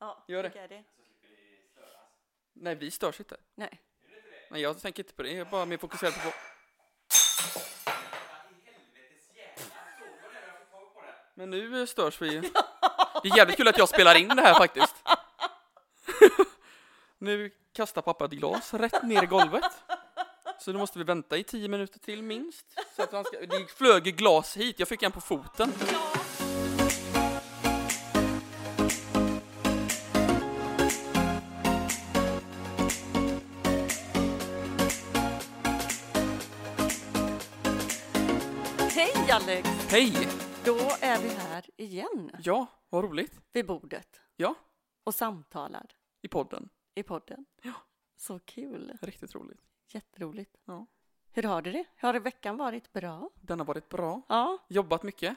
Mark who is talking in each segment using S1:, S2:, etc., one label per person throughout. S1: Ja,
S2: Gör det.
S1: tycker jag det.
S2: Nej, vi störs inte.
S1: Nej.
S2: Nej, jag tänker inte på det. Jag är bara mer fokuserad på... Men nu eh, störs vi ju. Det är jävligt kul att jag spelar in det här faktiskt. Nu kastar pappa ett glas rätt ner i golvet. Så nu måste vi vänta i tio minuter till minst. Så att han ska... Det flög glas hit, jag fick en på foten.
S1: Hej Alex!
S2: Hej!
S1: Då är vi här igen
S2: Ja, vad roligt.
S1: vid bordet
S2: Ja,
S1: och samtalar
S2: i podden.
S1: i podden.
S2: Ja.
S1: Så kul!
S2: Riktigt roligt.
S1: Jätteroligt.
S2: Ja.
S1: Hur har du det? Har veckan varit bra?
S2: Den har varit bra.
S1: Ja.
S2: Jobbat mycket.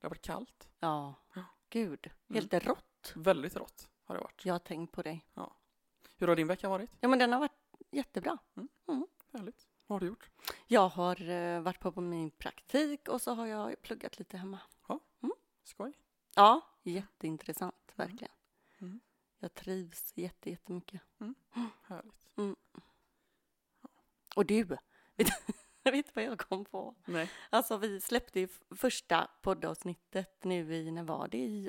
S2: Det har varit kallt.
S1: Ja.
S2: Ja. Mm.
S1: Gud, helt rått.
S2: Typ. Väldigt rått har det varit.
S1: Jag har tänkt på dig.
S2: Hur har din vecka varit?
S1: Ja, men den har varit jättebra.
S2: Härligt. Vad har du gjort?
S1: Jag har eh, varit på, på min praktik och så har jag pluggat lite hemma.
S2: Skoj.
S1: Ja, jätteintressant verkligen.
S2: Mm.
S1: Jag trivs jätte, jättemycket.
S2: Härligt.
S1: Och du, vet, jag vet vad jag kom på?
S2: Nej.
S1: Alltså vi släppte ju f- första poddavsnittet nu i, när var det? I,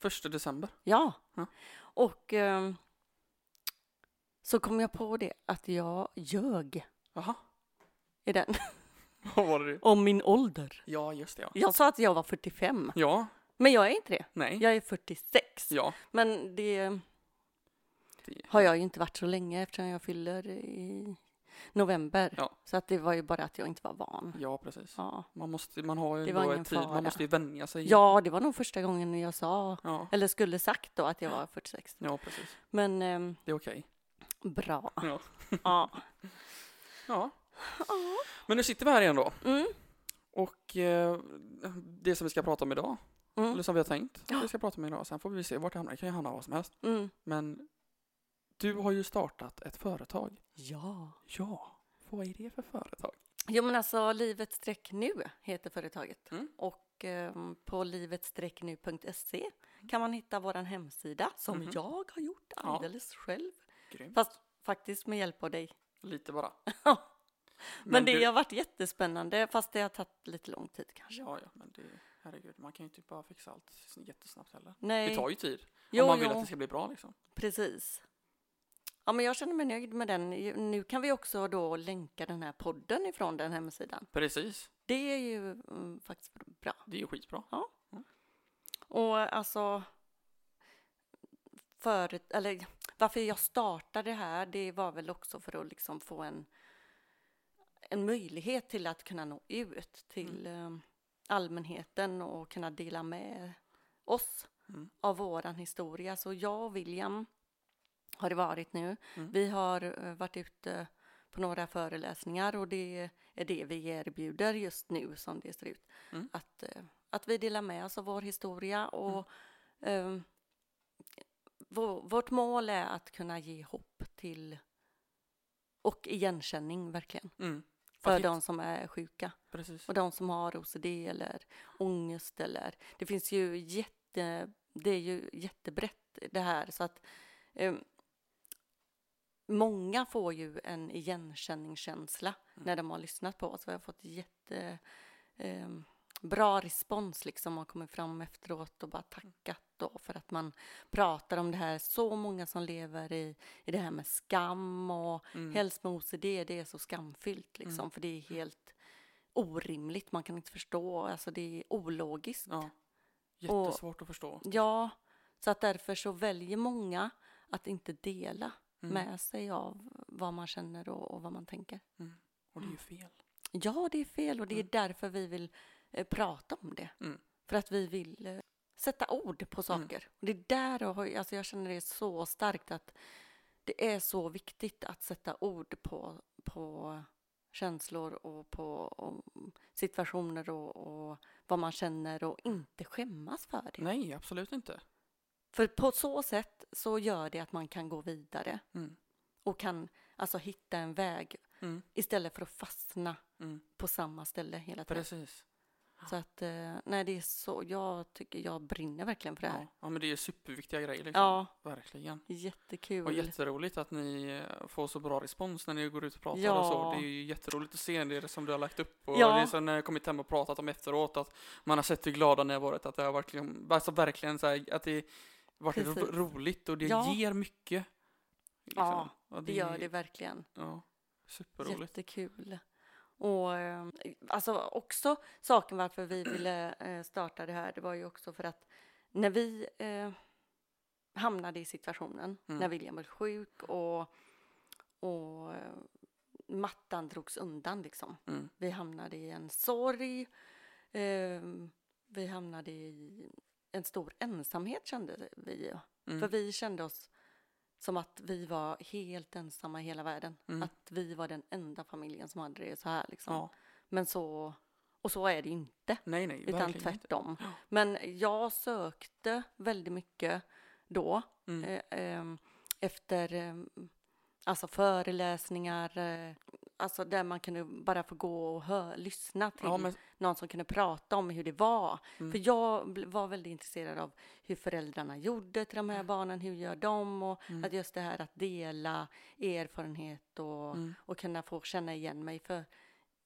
S2: Första december.
S1: ja.
S2: Ja.
S1: Och ehm, så kom jag på det att jag ljög
S2: Jaha.
S1: i den
S2: Vad var det?
S1: om min ålder.
S2: Ja, just det ja.
S1: Jag sa att jag var 45,
S2: Ja.
S1: men jag är inte det.
S2: Nej.
S1: Jag är 46.
S2: Ja.
S1: Men det
S2: Det-
S1: har jag ju inte varit så länge eftersom jag fyller i november.
S2: Ja.
S1: Så att det var ju bara att jag inte var van.
S2: Ja, precis.
S1: Ja,
S2: Man måste, man har ju
S1: Det var
S2: ändå
S1: ingen
S2: en tid,
S1: fara.
S2: man måste ju vänja sig.
S1: ja det var nog första gången jag sa,
S2: Ja,
S1: eller skulle sagt då, att jag var 46.
S2: ja precis.
S1: Men ehm,
S2: Det är okej.
S1: bra.
S2: Ja.
S1: Ja.
S2: Ja. Men nu sitter vi här igen då.
S1: Mm.
S2: Och eh, det som vi ska prata om idag, eller
S1: Mm.
S2: som vi har tänkt, vi ska prata om idag, sen får vi se vart det hamnar. Det kan ju hamna vad som helst.
S1: Mm.
S2: Men du har ju startat ett företag.
S1: Ja.
S2: Ja, vad är det för företag?
S1: Jo men alltså Livets streck nu heter företaget
S2: Mm.
S1: och ehm, på livetstrecknu.se E kan man hitta våran hemsida som
S2: Mhm.
S1: jag har gjort
S2: Ja.
S1: alldeles själv.
S2: Grymt.
S1: Fast faktiskt med hjälp av dig.
S2: Lite bara.
S1: Men, det
S2: du-
S1: har varit jättespännande fast det har tagit lite lång tid kanske.
S2: Ja, ja, men det, herregud, man kan ju inte bara fixa allt s- jättesnabbt heller.
S1: Nej,
S2: Det tar ju tid.
S1: jo,
S2: om man vill
S1: jo,
S2: att det ska bli bra liksom.
S1: precis. Ja men jag känner mig nöjd med den. Nu kan vi också då länka den här podden ifrån den hemsidan.
S2: Precis,
S1: Det är ju mm, faktiskt bra.
S2: det är ju skitbra.
S1: Och alltså, för, eller, varför jag startade det här, det var väl också för att liksom få en, en möjlighet till att kunna nå ut till
S2: Mm.
S1: eh, allmänheten och kunna dela med oss
S2: Mm.
S1: av våran historia. Så jag och William har det varit nu.
S2: Mm.
S1: Vi har eh, varit ute på några föreläsningar och det är det vi erbjuder just nu som det ser ut.
S2: Mm.
S1: Att, eh, att vi delar med oss av vår historia och eh, vår, vårt mål är att kunna ge hopp till och igenkänning verkligen
S2: Mm.
S1: för
S2: Att hit-
S1: de som är sjuka
S2: Precis.
S1: och de som har OCD eller ångest eller det finns ju jätte, det är ju jättebrett det här så att eh, många får ju en igenkänningskänsla när de har lyssnat på oss. Vi har fått jätte eh, bra respons liksom och kommit fram efteråt och bara tackat då för att man pratar om det här. Så många som lever i, i det här med skam och
S2: Mm.
S1: helst med OCD, det är så skamfyllt liksom för det är helt orimligt, man kan inte förstå, alltså det är ologiskt.
S2: Ja. Jättesvårt att förstå.
S1: Ja, så att därför så väljer många att inte dela med sig av vad man känner och, och vad man tänker.
S2: Och
S1: Mm.
S2: det är ju fel.
S1: Ja, det är fel och det är därför vi vill eh, prata om det.
S2: Mm.
S1: För att vi vill eh, sätta ord på saker. Och det är där jag, har, alltså jag känner det så starkt att det är så viktigt att sätta ord på, på känslor och på och situationer och, och vad man känner och inte skämmas för det.
S2: Nej, absolut inte.
S1: För på så sätt så gör det att man kan gå vidare
S2: Mm.
S1: och kan alltså hitta en väg
S2: Mm.
S1: istället för att fastna
S2: Mm.
S1: på samma ställe hela tiden.
S2: Precis.
S1: Så att, eh, nej det är så, jag tycker jag brinner verkligen för det här.
S2: Ja. ja, men det är superviktiga grejer liksom.
S1: Ja,
S2: Verkligen.
S1: jättekul.
S2: Och jätteroligt att ni eh, får så bra respons när ni går ut och pratar
S1: Ja.
S2: och så. Det är ju jätteroligt att se det som du har lagt upp och
S1: Ja.
S2: det som ni har kommit hem och pratat om efteråt. Att man har sett hur glada ni har varit, att det har verkligen, alltså verkligen så här, att det har varit
S1: Precis.
S2: ro- roligt och det
S1: Ja.
S2: ger mycket.
S1: Ja,
S2: Och
S1: det gör det verkligen.
S2: Ja, superroligt.
S1: Jättekul. Och eh, alltså också saken varför vi ville eh, starta det här, det var ju också för att när vi eh, hamnade i situationen,
S2: Mm.
S1: när William blev sjuk och, och eh, mattan drogs undan liksom.
S2: Mm.
S1: Vi hamnade i en sorg, eh, vi hamnade i en stor ensamhet kände vi.
S2: Mm.
S1: För vi kände oss som att vi var helt ensamma i hela världen.
S2: Mm.
S1: Att vi var den enda familjen som hade det så här liksom.
S2: Ja.
S1: Men så, och så är det ju inte.
S2: Nej, nej,
S1: Utan
S2: verkligen inte.
S1: tvärtom. Men jag sökte väldigt mycket då.
S2: Mm.
S1: Eh, ehm, efter ehm, alltså föreläsningar. Eh, alltså där man kunde bara få gå och hö- lyssna till
S2: Ja, men,
S1: någon som kunde prata om hur det var.
S2: Mm.
S1: För jag bl- var väldigt intresserad av hur föräldrarna gjorde till de här barnen, hur gör de? Och
S2: Mm.
S1: att just det här att dela erfarenhet och,
S2: mm.
S1: och kunna få känna igen mig. För,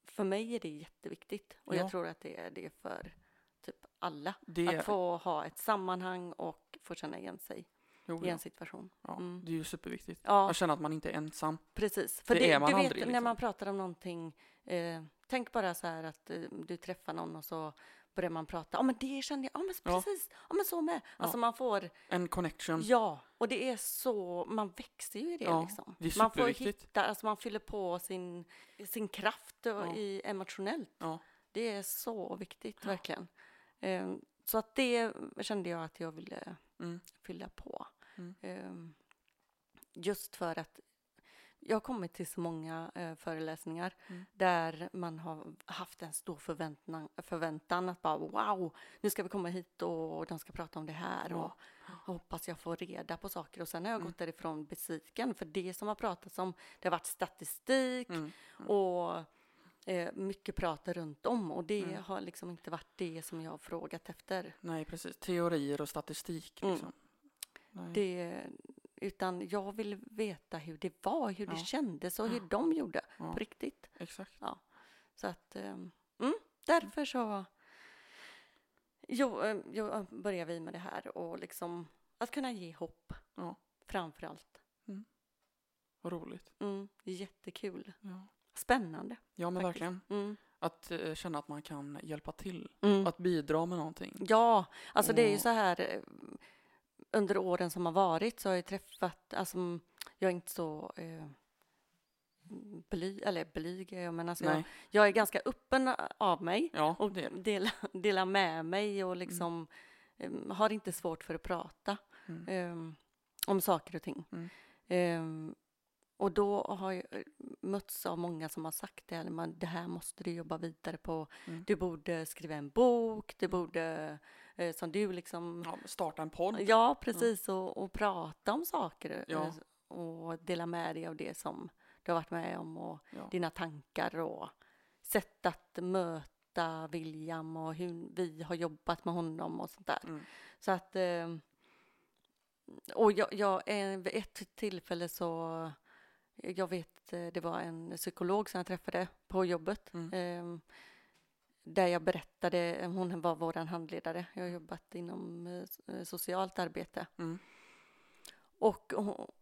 S1: för mig är det jätteviktigt och
S2: Ja.
S1: jag tror att det är det för typ alla.
S2: Det,
S1: Att få ha ett sammanhang och få känna igen sig
S2: jo,
S1: i
S2: ja.
S1: en situation.
S2: Ja,
S1: mm.
S2: det är ju superviktigt.
S1: Ja,
S2: Att känna att man inte är ensam.
S1: precis. För
S2: det
S1: det,
S2: är man
S1: du vet,
S2: aldrig,
S1: när
S2: liksom.
S1: man pratar om någonting, eh, tänk bara så här att eh, du träffar någon och så börjar man prata, ja men det kände jag, ja men
S2: Ja.
S1: precis, ja men så med. Alltså man får,
S2: En connection.
S1: ja, och det är så, man växer ju i det
S2: liksom. Ja,
S1: liksom.
S2: det är
S1: man får
S2: superviktigt.
S1: hitta, alltså man fyller på sin, sin kraft och,
S2: Ja.
S1: i, emotionellt.
S2: Ja.
S1: Det är så viktigt verkligen. Eh, så att det kände jag att jag ville
S2: Mm.
S1: fylla på.
S2: Mm.
S1: Ehm, just för att jag har kommit till så många eh, föreläsningar
S2: Mm.
S1: där man har haft en stor förväntan, förväntan att bara wow, nu ska vi komma hit och de ska prata om det här och
S2: Ja.
S1: jag hoppas jag får reda på saker och sen har jag
S2: Mm.
S1: gått därifrån besviken för det som har pratats om det har varit statistik
S2: Mm.
S1: och eh, mycket prat runt om och det
S2: Mm.
S1: har liksom inte varit det som jag har frågat efter.
S2: Nej, precis. Teorier och statistik
S1: Mm.
S2: liksom. Nej.
S1: Det, utan jag vill veta hur det var, hur det
S2: Ja.
S1: kändes och hur de gjorde
S2: Ja.
S1: på riktigt.
S2: Exakt.
S1: Så att, ehm, mm, därför så jo, eh, jo, börjar vi med det här och liksom att kunna ge hopp
S2: Ja.
S1: framför allt.
S2: Vad roligt.
S1: Mm, jättekul.
S2: Ja,
S1: Spännande.
S2: ja men
S1: Faktiskt.
S2: verkligen.
S1: Mm.
S2: Att eh, känna att man kan hjälpa till.
S1: Mm.
S2: Att bidra med någonting.
S1: Ja, alltså det är ju
S2: Och-
S1: så här eh, under åren som har varit så har jag träffat, alltså mm, jag är inte så eh, blyg, eller blyg är jag men alltså jag,
S2: Nej.
S1: jag är ganska öppen av mig
S2: Ja,
S1: och
S2: det är det.
S1: delar dela med mig och liksom eh, har inte svårt för att prata
S2: Mm.
S1: eh, om saker och ting.
S2: Mm.
S1: Eh, och då har jag eh, mötts av många som har sagt det, eller man, det här måste du jobba vidare på.
S2: Mm.
S1: Du borde skriva en bok, du borde, eh, som du liksom,
S2: Ja, men starta en podd.
S1: ja precis, och, och prata om saker eh,
S2: Ja.
S1: och dela med dig av det som du har varit med om och
S2: Ja.
S1: dina tankar och sätt att möta William och hur vi har jobbat med honom och sånt där.
S2: Mm.
S1: Så att... eh, Och jag, jag, eh, vid ett tillfälle så... Jag vet, eh, det var en psykolog som jag träffade på jobbet.
S2: Mm.
S1: eh, Där jag berättade, eh, hon var vår handledare. Jag har jobbat inom eh, s- eh, socialt arbete.
S2: Mm.
S1: Och hon-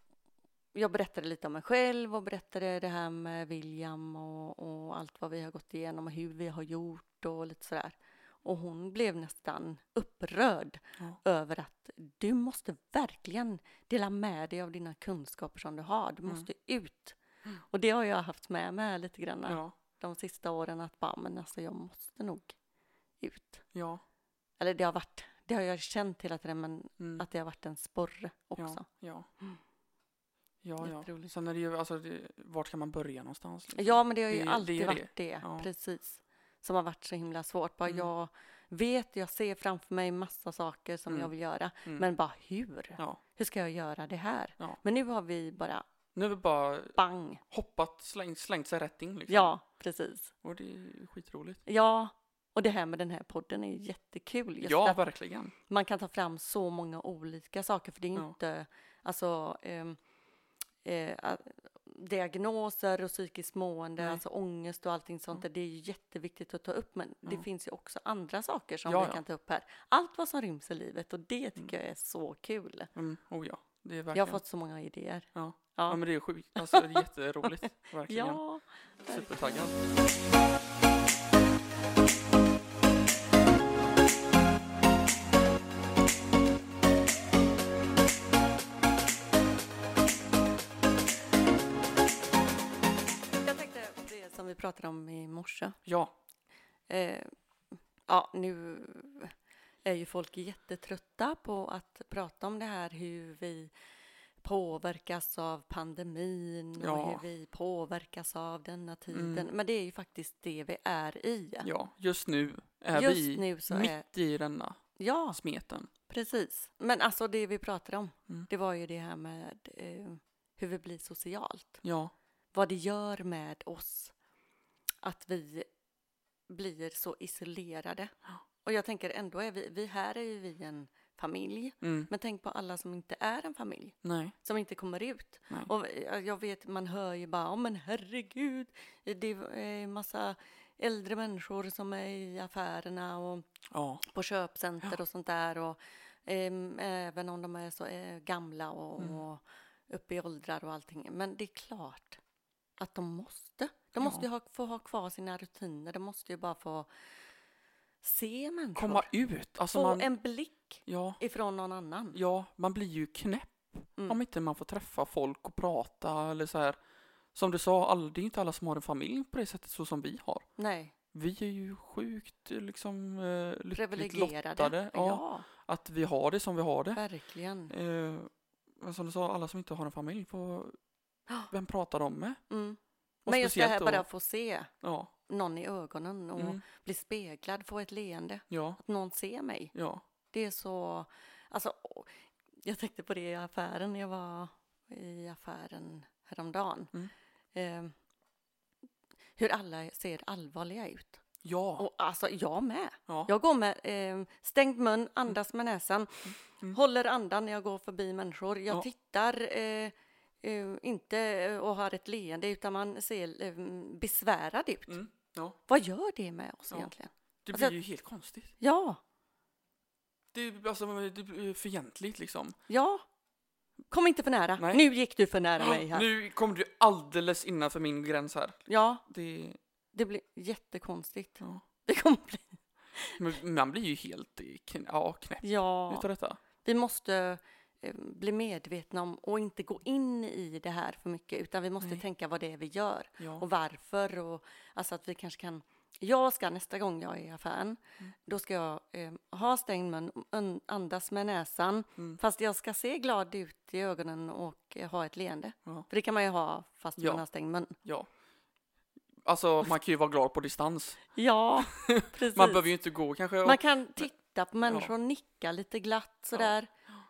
S1: jag berättade lite om mig själv och berättade det här med William och, och allt vad vi har gått igenom och hur vi har gjort och lite sådär. Och hon blev nästan upprörd
S2: Ja.
S1: över att du måste verkligen dela med dig av dina kunskaper som du har. Du
S2: Mm.
S1: måste ut. Och det har jag haft med mig lite grann
S2: Ja.
S1: de sista åren att bara, men alltså jag måste nog ut.
S2: Ja.
S1: Eller det har varit, det har jag känt hela tiden, men
S2: Mm.
S1: att det har varit en sporre också.
S2: Ja. Ja. Ja, ja.
S1: Jätteroligt.
S2: Sen är det ju, alltså, det, vart kan man börja någonstans? liksom?
S1: Ja, men det har ju
S2: Det- det är
S1: alltid
S2: det.
S1: varit det,
S2: Ja.
S1: precis. Som har varit så himla svårt. Bara
S2: Mm.
S1: jag vet, jag ser framför mig massa saker som
S2: Mm.
S1: jag vill göra,
S2: Mm.
S1: men bara hur?
S2: Ja.
S1: Hur ska jag göra det här?
S2: Ja.
S1: Men nu har vi bara
S2: Nu har vi bara
S1: bang.
S2: hoppat, slängt, slängt sig rätt in liksom.
S1: Ja, precis.
S2: Och det är ju skitroligt.
S1: Ja, Och det här med den här podden är ju jättekul. Just
S2: Ja,
S1: att
S2: verkligen.
S1: man kan ta fram så många olika saker för det är
S2: Ja.
S1: inte, alltså ehm, eh, a- diagnoser och psykiskt mående,
S2: Nej.
S1: alltså ångest och allting sånt där, det är ju jätteviktigt att ta upp men det
S2: Mm.
S1: finns ju också andra saker som
S2: Ja,
S1: vi
S2: ja.
S1: kan ta upp här. Allt vad som ryms i livet och det tycker jag är så kul.
S2: Mm, oh ja, det är verkligen.
S1: Jag har fått så många idéer.
S2: ja.
S1: Ja.
S2: ja, men det är sjukt. Alltså, det är jätteroligt. Verkligen.
S1: Ja,
S2: Supertaggad.
S1: jag tänkte på det som vi pratade om i morse.
S2: Ja,
S1: Eh, ja, nu är ju folk jättetrötta på att prata om det här hur vi påverkas av pandemin och
S2: Ja.
S1: hur vi påverkas av denna tiden.
S2: Mm.
S1: Men det är ju faktiskt det vi är i.
S2: ja, just nu är
S1: Just
S2: vi
S1: nu så
S2: mitt
S1: är...
S2: i denna
S1: Ja,
S2: smeten.
S1: precis. Men alltså det vi pratade om,
S2: Mm.
S1: det var ju det här med eh, hur vi blir socialt.
S2: Ja,
S1: Vad det gör med oss att vi blir så isolerade. Och jag tänker ändå är vi, vi här är ju vi en familj.
S2: mm.
S1: Men tänk på alla som inte är en familj,
S2: nej,
S1: som inte kommer ut.
S2: nej.
S1: Och eh, jag vet, man hör ju bara, oh, men herregud, det är en massa äldre människor som är i affärerna och
S2: Ja,
S1: på köpcenter och sånt där. Och, ehm, även om de är så eh, gamla och,
S2: Mm.
S1: och uppe i åldrar och allting. Men det är klart att de måste. De måste ju ha, få ha kvar sina rutiner. De måste ju bara få se människor.
S2: komma ut. Alltså
S1: få
S2: man,
S1: en blick
S2: ja,
S1: ifrån någon annan.
S2: ja, man blir ju knäpp
S1: Mm.
S2: om inte man får träffa folk och prata eller så här. Som du sa, all, det är inte alla som har en familj på det sättet så som vi har.
S1: Nej,
S2: Vi är ju sjukt eh, liksom eh, lyckligt
S1: privilegierade.
S2: lottade. Ja,
S1: ja,
S2: Att vi har det som vi har det.
S1: verkligen.
S2: Eh, men som du sa, alla som inte har en familj, på,
S1: Ja.
S2: vem pratar de med?
S1: Mm.
S2: Och
S1: Men just det här
S2: speciellt då-
S1: bara få se
S2: Ja,
S1: någon i ögonen och
S2: mm,
S1: bli speglad, få ett leende,
S2: ja,
S1: att någon ser mig.
S2: ja,
S1: Det är så... Alltså, å- jag tänkte på det i affären. Jag var i affären häromdagen.
S2: Mm.
S1: Eh, hur alla ser allvarliga ut.
S2: ja,
S1: Och alltså, jag med.
S2: ja,
S1: Jag går med eh, stängd mun, andas med näsan,
S2: Mm.
S1: håller andan när jag går förbi människor. Jag
S2: Ja.
S1: tittar eh, eh, inte eh, och har ett leende, utan man ser eh, besvärad ut.
S2: mm, ja.
S1: Vad gör det med oss
S2: Ja.
S1: egentligen?
S2: Det
S1: Alltså-
S2: blir ju helt konstigt.
S1: Ja,
S2: Det, är- alltså, det blir fientligt liksom.
S1: ja. Kom inte för nära.
S2: Nej.
S1: Nu gick du för nära mig här.
S2: Nu kom du alldeles innanför min gräns här.
S1: Ja,
S2: Det,
S1: det blir jättekonstigt.
S2: ja.
S1: Det kommer bli...
S2: Men man blir ju helt eh, kn- ja, knäpp
S1: Ja,
S2: utav detta.
S1: vi måste eh, bli medvetna om och inte gå in i det här för mycket utan vi måste
S2: Nej.
S1: tänka vad det är vi gör
S2: Ja,
S1: och varför och alltså att vi kanske kan jag ska nästa gång jag är i affären,
S2: Mm.
S1: då ska jag eh, ha stängd mun, un- andas med näsan,
S2: Mm.
S1: fast jag ska se glad ut i ögonen och eh, ha ett leende.
S2: Ja.
S1: För det kan man ju ha fast
S2: Ja.
S1: man har stängd mun.
S2: ja. Alltså man kan ju vara glad på distans.
S1: Ja, precis.
S2: Man behöver ju inte gå kanske.
S1: Man kan titta på människor och nicka lite glatt sådär.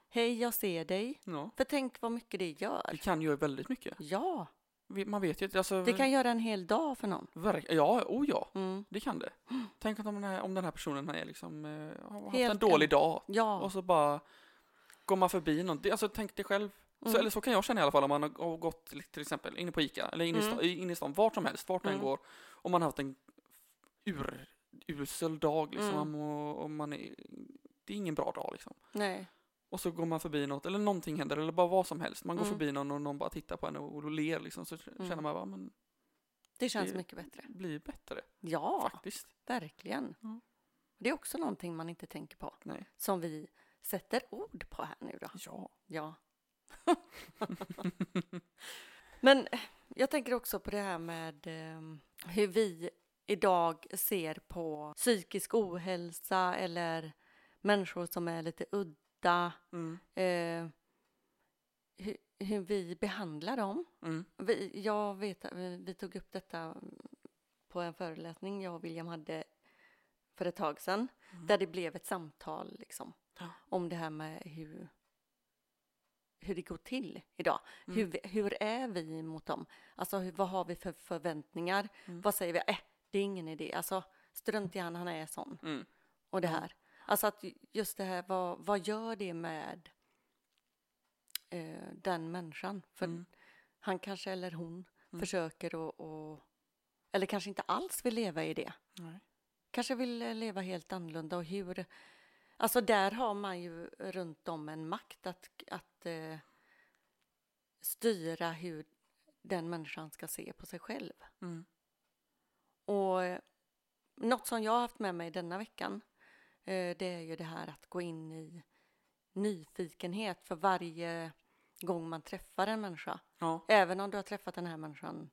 S1: Hej, jag ser dig.
S2: ja.
S1: För tänk vad mycket det
S2: Det
S1: gör.
S2: kan göra väldigt mycket.
S1: Ja,
S2: Vi- Man vet ju inte. Alltså,
S1: det kan göra en hel dag för någon.
S2: verk- ja, oh ja.
S1: Mm.
S2: Det kan det. Tänk om den här, om den här personen är liksom, eh, har haft
S1: Helt
S2: en dålig
S1: en-
S2: dag
S1: Ja,
S2: och så bara går man förbi någon. Det- Alltså tänk dig själv.
S1: Mm.
S2: Så, eller så kan jag känna i alla fall om man har har gått till- till exempel inne på Ica eller inne i,
S1: Mm.
S2: sta, i- inne i stan, vart som helst, vart man än
S1: Mm.
S2: går. Om man har haft en ur, usel dag liksom.
S1: Mm.
S2: Man må, och man är, det är ingen bra dag liksom.
S1: nej.
S2: Och så går man förbi något eller någonting händer eller bara vad som helst. Man går
S1: Mm.
S2: förbi någon och någon bara tittar på en och, och ler liksom. Så k-
S1: Mm.
S2: känner man bara, men
S1: Det känns
S2: Det-
S1: mycket bättre.
S2: det blir bättre
S1: Ja,
S2: faktiskt.
S1: verkligen.
S2: Ja.
S1: Det är också någonting man inte tänker på.
S2: Nej.
S1: Som vi sätter ord på här nu då.
S2: Ja.
S1: Ja. Men eh, jag tänker också på det här med ehm, hur vi idag ser på psykisk ohälsa eller människor som är lite udda.
S2: Mm.
S1: Eh, hur, hur vi behandlar dem.
S2: Mm.
S1: Vi, jag vet, att vi vi tog upp detta mm, på en föreläsning jag och William hade för ett tag sedan, där det blev ett samtal liksom,
S2: Mm. Ja.
S1: om det här med hur, hur det går till idag.
S2: Mm.
S1: Hur, vi- hur är vi mot dem? Alltså, hur, vad har vi för förväntningar?
S2: Mm.
S1: Vad säger vi? Äh, det är ingen idé. Alltså, strunt i han, han är sån.
S2: Mm.
S1: Och det här. Alltså att just det här, vad, vad gör det med eh, den människan? För
S2: Mm.
S1: han kanske, eller hon,
S2: Mm.
S1: försöker att, att, eller kanske inte alls vill leva i det.
S2: Nej.
S1: Kanske vill eh, leva helt annorlunda och hur, alltså där har man ju runt om en makt att, att eh, styra hur den människan ska se på sig själv.
S2: Mm.
S1: Och eh, något som jag har haft med mig denna veckan, eh, det är ju det här att gå in i nyfikenhet för varje gång man träffar en människa.
S2: Ja.
S1: Även om du har träffat den här människan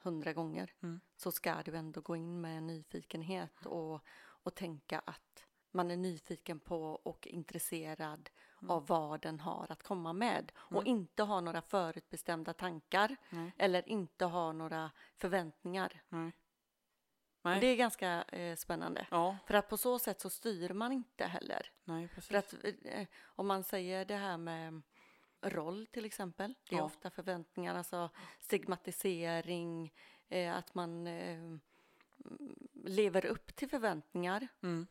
S1: hundra gånger
S2: Mm.
S1: så ska du ändå gå in med en nyfikenhet och, och tänka att man är nyfiken på och intresserad
S2: Mm.
S1: av vad den har att komma med och inte ha några förutbestämda tankar
S2: Nej.
S1: eller inte ha några förväntningar.
S2: Nej. Nej.
S1: Det är ganska eh, spännande.
S2: Ja.
S1: För att på så sätt så styr man inte heller.
S2: Nej, precis.
S1: För att eh, om man säger det här med roll till exempel, det är
S2: Ja.
S1: ofta förväntningar, alltså stigmatisering, eh, att man eh, mm, lever upp till förväntningar
S2: Mm.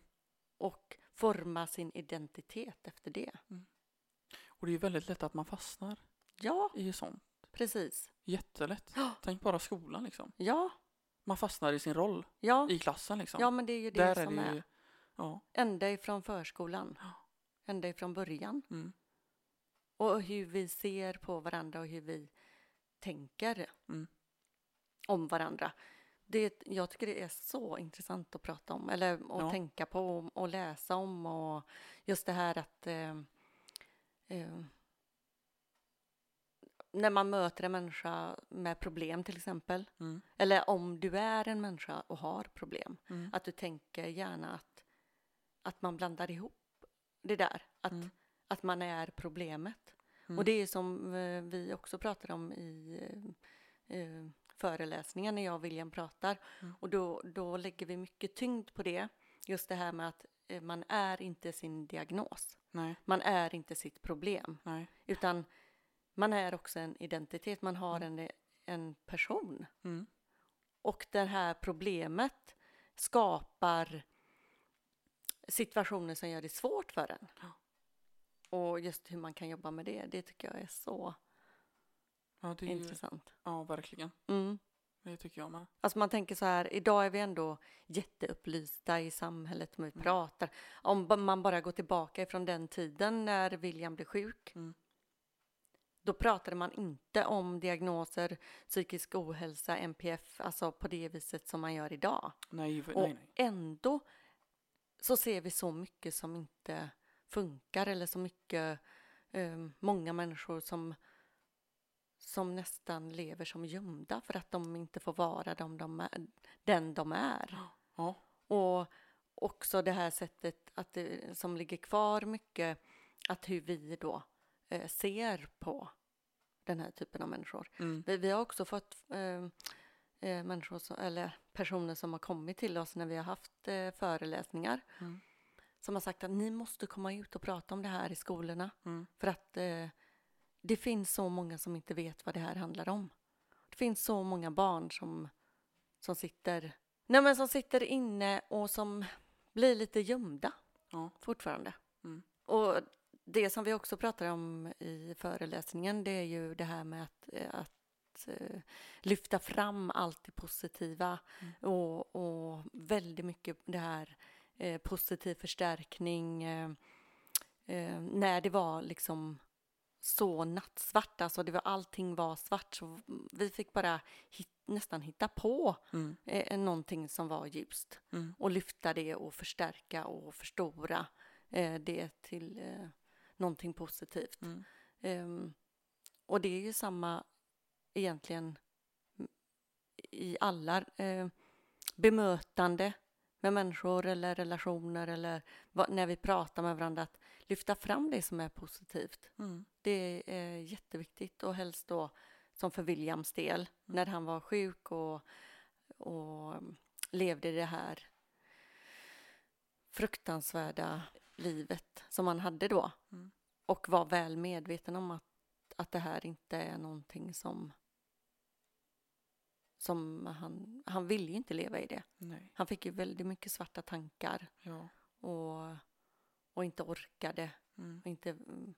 S1: och formar sin identitet efter det.
S2: Och det är väldigt lätt att man fastnar
S1: Ja,
S2: i sånt.
S1: precis.
S2: Jättelätt. Tänk bara skolan liksom.
S1: Ja,
S2: Man fastnar i sin roll
S1: ja,
S2: i klassen liksom.
S1: ja men det är ju det
S2: Där
S1: som
S2: är det
S1: är.
S2: ju... Ja.
S1: Ända ifrån förskolan,
S2: Ja.
S1: ända ifrån början.
S2: Mm.
S1: Och hur vi ser på varandra och hur vi tänker
S2: Mm.
S1: om varandra. Det, jag tycker det är så intressant att prata om, eller att
S2: Ja.
S1: tänka på och, och läsa om. Och just det här att... Eh, eh, när man möter en människa med problem till exempel,
S2: Mm.
S1: eller om du är en människa och har problem,
S2: Mm.
S1: att du tänker gärna att, att man blandar ihop det där, att,
S2: Mm.
S1: att man är problemet.
S2: Mm.
S1: Och det är som eh, vi också pratar om i eh, eh, föreläsningen när jag och William pratar.
S2: Mm.
S1: Och då, då lägger vi mycket tyngd på det, just det här med att eh, man är inte sin diagnos,
S2: Nej.
S1: man är inte sitt problem,
S2: Nej.
S1: utan man är också en identitet, man har en, en person.
S2: Mm.
S1: Och det här problemet skapar situationer som gör det svårt för en.
S2: Ja.
S1: Och just hur man kan jobba med det, det tycker jag är så
S2: Ja, det är ju...
S1: intressant.
S2: Ja, verkligen.
S1: Mm.
S2: Det tycker jag med.
S1: Alltså man tänker så här, idag är vi ändå jätteupplysta i samhället,
S2: Mm.
S1: vi pratar. Om ba- man bara går tillbaka ifrån den tiden när William blev sjuk,
S2: Mm.
S1: då pratade man inte om diagnoser, psykisk ohälsa, NPF, alltså på det viset som man gör idag.
S2: Nej, för,
S1: Och
S2: nej, nej.
S1: ändå så ser vi så mycket som inte funkar eller så mycket, eh, många människor som, som nästan lever som gömda för att de inte får vara de de är, den de är.
S2: Ja.
S1: Och också det här sättet att det, som ligger kvar mycket, att hur vi då eh, ser på den här typen av människor.
S2: Mm.
S1: Vi, vi har också fått eh, eh, människor som, eller personer som har kommit till oss när vi har haft eh, föreläsningar
S2: Mm.
S1: som har sagt att ni måste komma ut och prata om det här i skolorna
S2: Mm.
S1: för att eh, det finns så många som inte vet vad det här handlar om. Det finns så många barn som, som sitter nej men som sitter inne och som blir lite gömda
S2: Ja.
S1: fortfarande.
S2: Mm.
S1: Och det som vi också pratar om i föreläsningen det är ju det här med att, eh, att eh, lyfta fram allt det positiva
S2: Mm.
S1: och, och väldigt mycket det här eh, positiv förstärkning eh, eh, när det var liksom så nattsvart, alltså det var, allting var svart så vi fick bara hit, nästan hitta på
S2: Mm.
S1: eh, någonting som var ljust
S2: Mm.
S1: och lyfta det och förstärka och förstora eh, det till eh, någonting positivt.
S2: Mm.
S1: Ehm, och det är ju samma egentligen m- i alla eh, bemötande med människor eller relationer eller vad, när vi pratar med varandra att lyfta fram det som är positivt.
S2: Mm.
S1: Det är jätteviktigt och helst då som för Williams del när han var sjuk och, och levde det här fruktansvärda livet som han hade då
S2: Mm.
S1: och var väl medveten om att, att det här inte är någonting som som han, han ville ju inte leva i det.
S2: Nej.
S1: Han fick ju väldigt mycket svarta tankar
S2: Ja.
S1: och, och inte orkade
S2: Mm.
S1: och inte mm,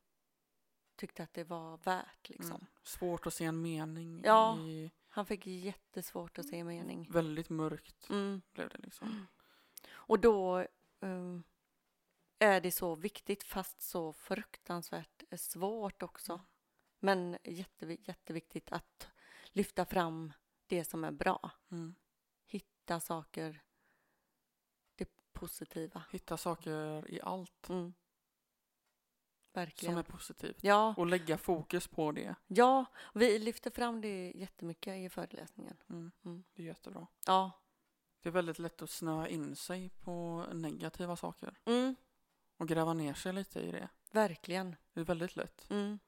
S1: tyckte att det var värt liksom.
S2: Mm. Svårt att se en mening
S1: Ja.
S2: i
S1: Han fick jättesvårt att se
S2: Mm.
S1: mening.
S2: väldigt mörkt
S1: Mm.
S2: blev det liksom.
S1: Och då eh, är det så viktigt fast så fruktansvärt eh, svårt
S2: Mm.
S1: också. Men jättevi- jätteviktigt att lyfta fram det som är bra.
S2: Mm.
S1: Hitta saker, det positiva.
S2: Hitta saker i allt
S1: Mm. Verkligen.
S2: som är positivt
S1: Ja,
S2: och lägga fokus på det.
S1: ja, vi lyfter fram det jättemycket i föreläsningen.
S2: Mm.
S1: Mm.
S2: Det är jättebra.
S1: Ja.
S2: Det är väldigt lätt att snöa in sig på negativa saker
S1: Mm.
S2: och gräva ner sig lite i det.
S1: Verkligen.
S2: Det är väldigt lätt.
S1: Mm.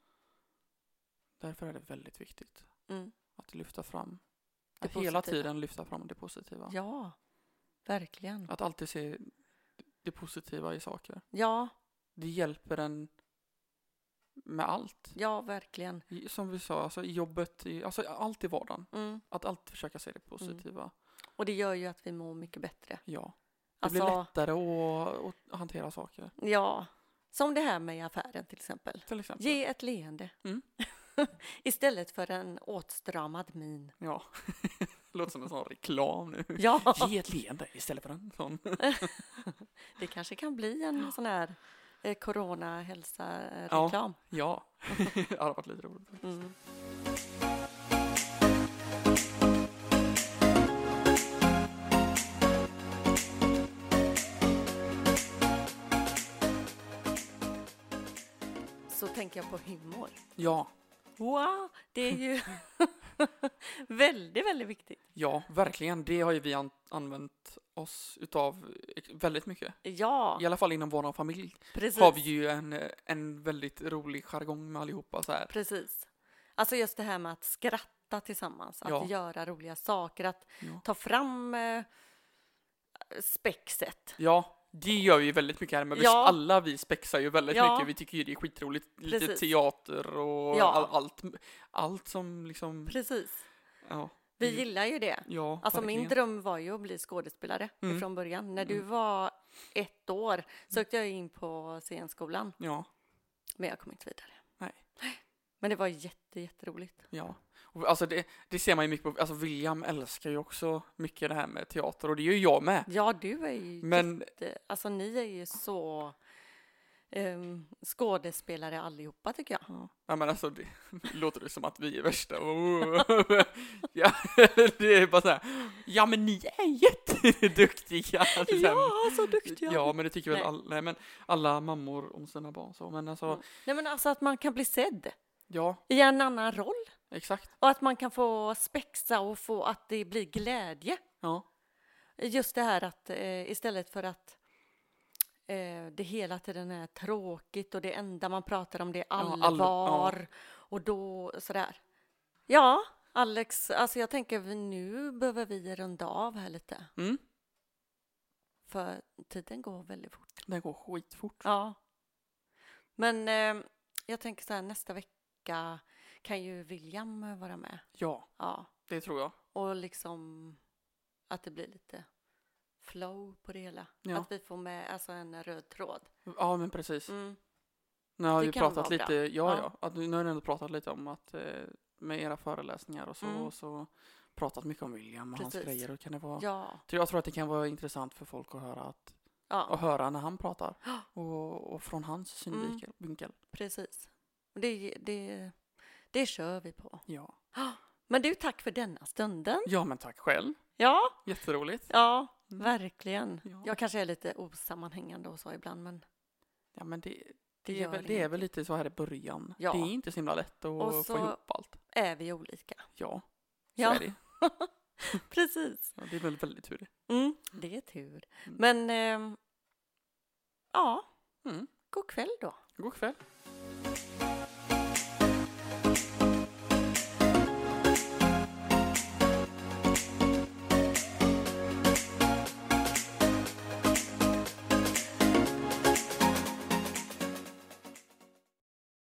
S2: Därför är det väldigt viktigt
S1: Mm.
S2: att lyfta fram,
S1: Det
S2: att
S1: positiva.
S2: hela tiden lyfta fram det positiva.
S1: Ja, verkligen.
S2: Att alltid se det positiva i saker.
S1: Ja,
S2: Det hjälper en med allt.
S1: ja, verkligen.
S2: I- Som vi sa, alltså i jobbet, i, alltså allt i vardagen.
S1: Mm.
S2: Att alltid försöka se det positiva.
S1: Och det gör ju att vi mår mycket bättre.
S2: Ja. Det
S1: Alltså,
S2: blir lättare att, att hantera saker.
S1: ja. Som det här med affären till exempel.
S2: Till exempel.
S1: Ge ett leende.
S2: Mm.
S1: Istället för en åtstramad min.
S2: Ja. Låter som en sån reklam nu.
S1: Ja,
S2: Ge ett leende istället för en sån.
S1: det kanske kan bli en sån här eh, corona-hälsa-reklam.
S2: Ja. det hade varit lite roligt.
S1: Mm. Så tänker jag på humor.
S2: Ja.
S1: Wow, det är ju väldigt, väldigt viktigt.
S2: Ja, verkligen. Det har ju vi an- använt oss utav eh, väldigt mycket.
S1: Ja,
S2: I alla fall inom vår familj
S1: precis.
S2: har vi ju en, eh, en väldigt rolig jargong med allihopa så här.
S1: precis. Alltså just det här med att skratta tillsammans, att
S2: Ja.
S1: göra roliga saker, att
S2: Ja.
S1: ta fram eh, spexet.
S2: Ja, det gör vi ju väldigt mycket här, men vi,
S1: Ja.
S2: alla vi spexar ju väldigt
S1: Ja.
S2: mycket. Vi tycker ju det är skitroligt. Lite
S1: Precis.
S2: teater och
S1: Ja.
S2: all, allt, allt som liksom...
S1: Precis.
S2: Ja,
S1: Vi
S2: Mm.
S1: gillar ju det.
S2: ja
S1: Alltså min
S2: verkligen.
S1: dröm var ju att bli skådespelare
S2: Mm.
S1: från början. När du var ett år sökte jag in på scenskolan,
S2: Ja,
S1: men jag kom inte vidare.
S2: Nej.
S1: Men det var jätte, jätteroligt.
S2: ja. Och Alltså det, det ser man ju mycket på, alltså William älskar ju också mycket det här med teater och det gör ju jag med.
S1: Ja, du är ju
S2: Men
S1: jätte, alltså ni är ju så ehm, skådespelare allihopa tycker jag.
S2: Ja. ja men alltså det låter det som att vi är värsta. Oh. ja, det är bara så här. Ja men ni är jätteduktiga. Liksom.
S1: Ja, så duktiga!
S2: ja men det tycker väl
S1: Nej.
S2: alla, nej, men alla mammor om sina barn så. Men alltså,
S1: Mm. Nej men alltså att man kan bli sedd
S2: ja
S1: i en annan roll
S2: exakt.
S1: och att man kan få spexa och få att det blir glädje.
S2: Ja,
S1: Just det här att eh, istället för att eh, det hela tiden är tråkigt och det enda man pratar om det är
S2: all-
S1: allvar och då sådär. Ja, Alex, alltså jag tänker vi- nu behöver vi runda av här lite
S2: mm.
S1: för tiden går väldigt fort.
S2: det går skitfort.
S1: Ja. Men eh, jag tänker så här nästa vecka kan ju William eh, vara med.
S2: Ja,
S1: Ja,
S2: det tror jag.
S1: och liksom att det blir lite flow på det hela.
S2: Ja.
S1: Att vi får med alltså en röd tråd.
S2: Ja men precis.
S1: Mm.
S2: Nu har
S1: Det
S2: vi
S1: kan
S2: pratat
S1: vara bra.
S2: lite, ja, ja
S1: Ja.
S2: att, nu har ni ändå pratat lite om att eh, med era föreläsningar och så,
S1: Mm.
S2: och så pratat mycket om William och hans
S1: Precis.
S2: grejer. Och kan det vara
S1: Ja,
S2: Så Jag tror att det kan vara intressant för folk att höra, att,
S1: ja,
S2: att höra när han pratar och, och från hans synvinkel.
S1: Mm.
S2: vinkel.
S1: precis. Det, det, det kör vi på.
S2: Ja.
S1: Men du, tack för denna stunden.
S2: ja, men tack själv.
S1: Ja,
S2: Jätteroligt.
S1: ja,
S2: Mm.
S1: verkligen.
S2: Ja.
S1: Jag kanske är lite osammanhängande och så ibland, men
S2: Ja, men det,
S1: det,
S2: det, är,
S1: gör
S2: väl, det är
S1: ingenting.
S2: väl lite så här i början.
S1: Ja.
S2: Det är inte så himla lätt att
S1: Och så-
S2: få ihop allt.
S1: Är vi olika?
S2: Ja, så
S1: Ja.
S2: är det.
S1: Precis.
S2: Ja, det är väl väldigt tur.
S1: Mm, det är tur.
S2: Mm.
S1: Men, ehm, ja,
S2: Mm.
S1: god kväll då.
S2: God kväll.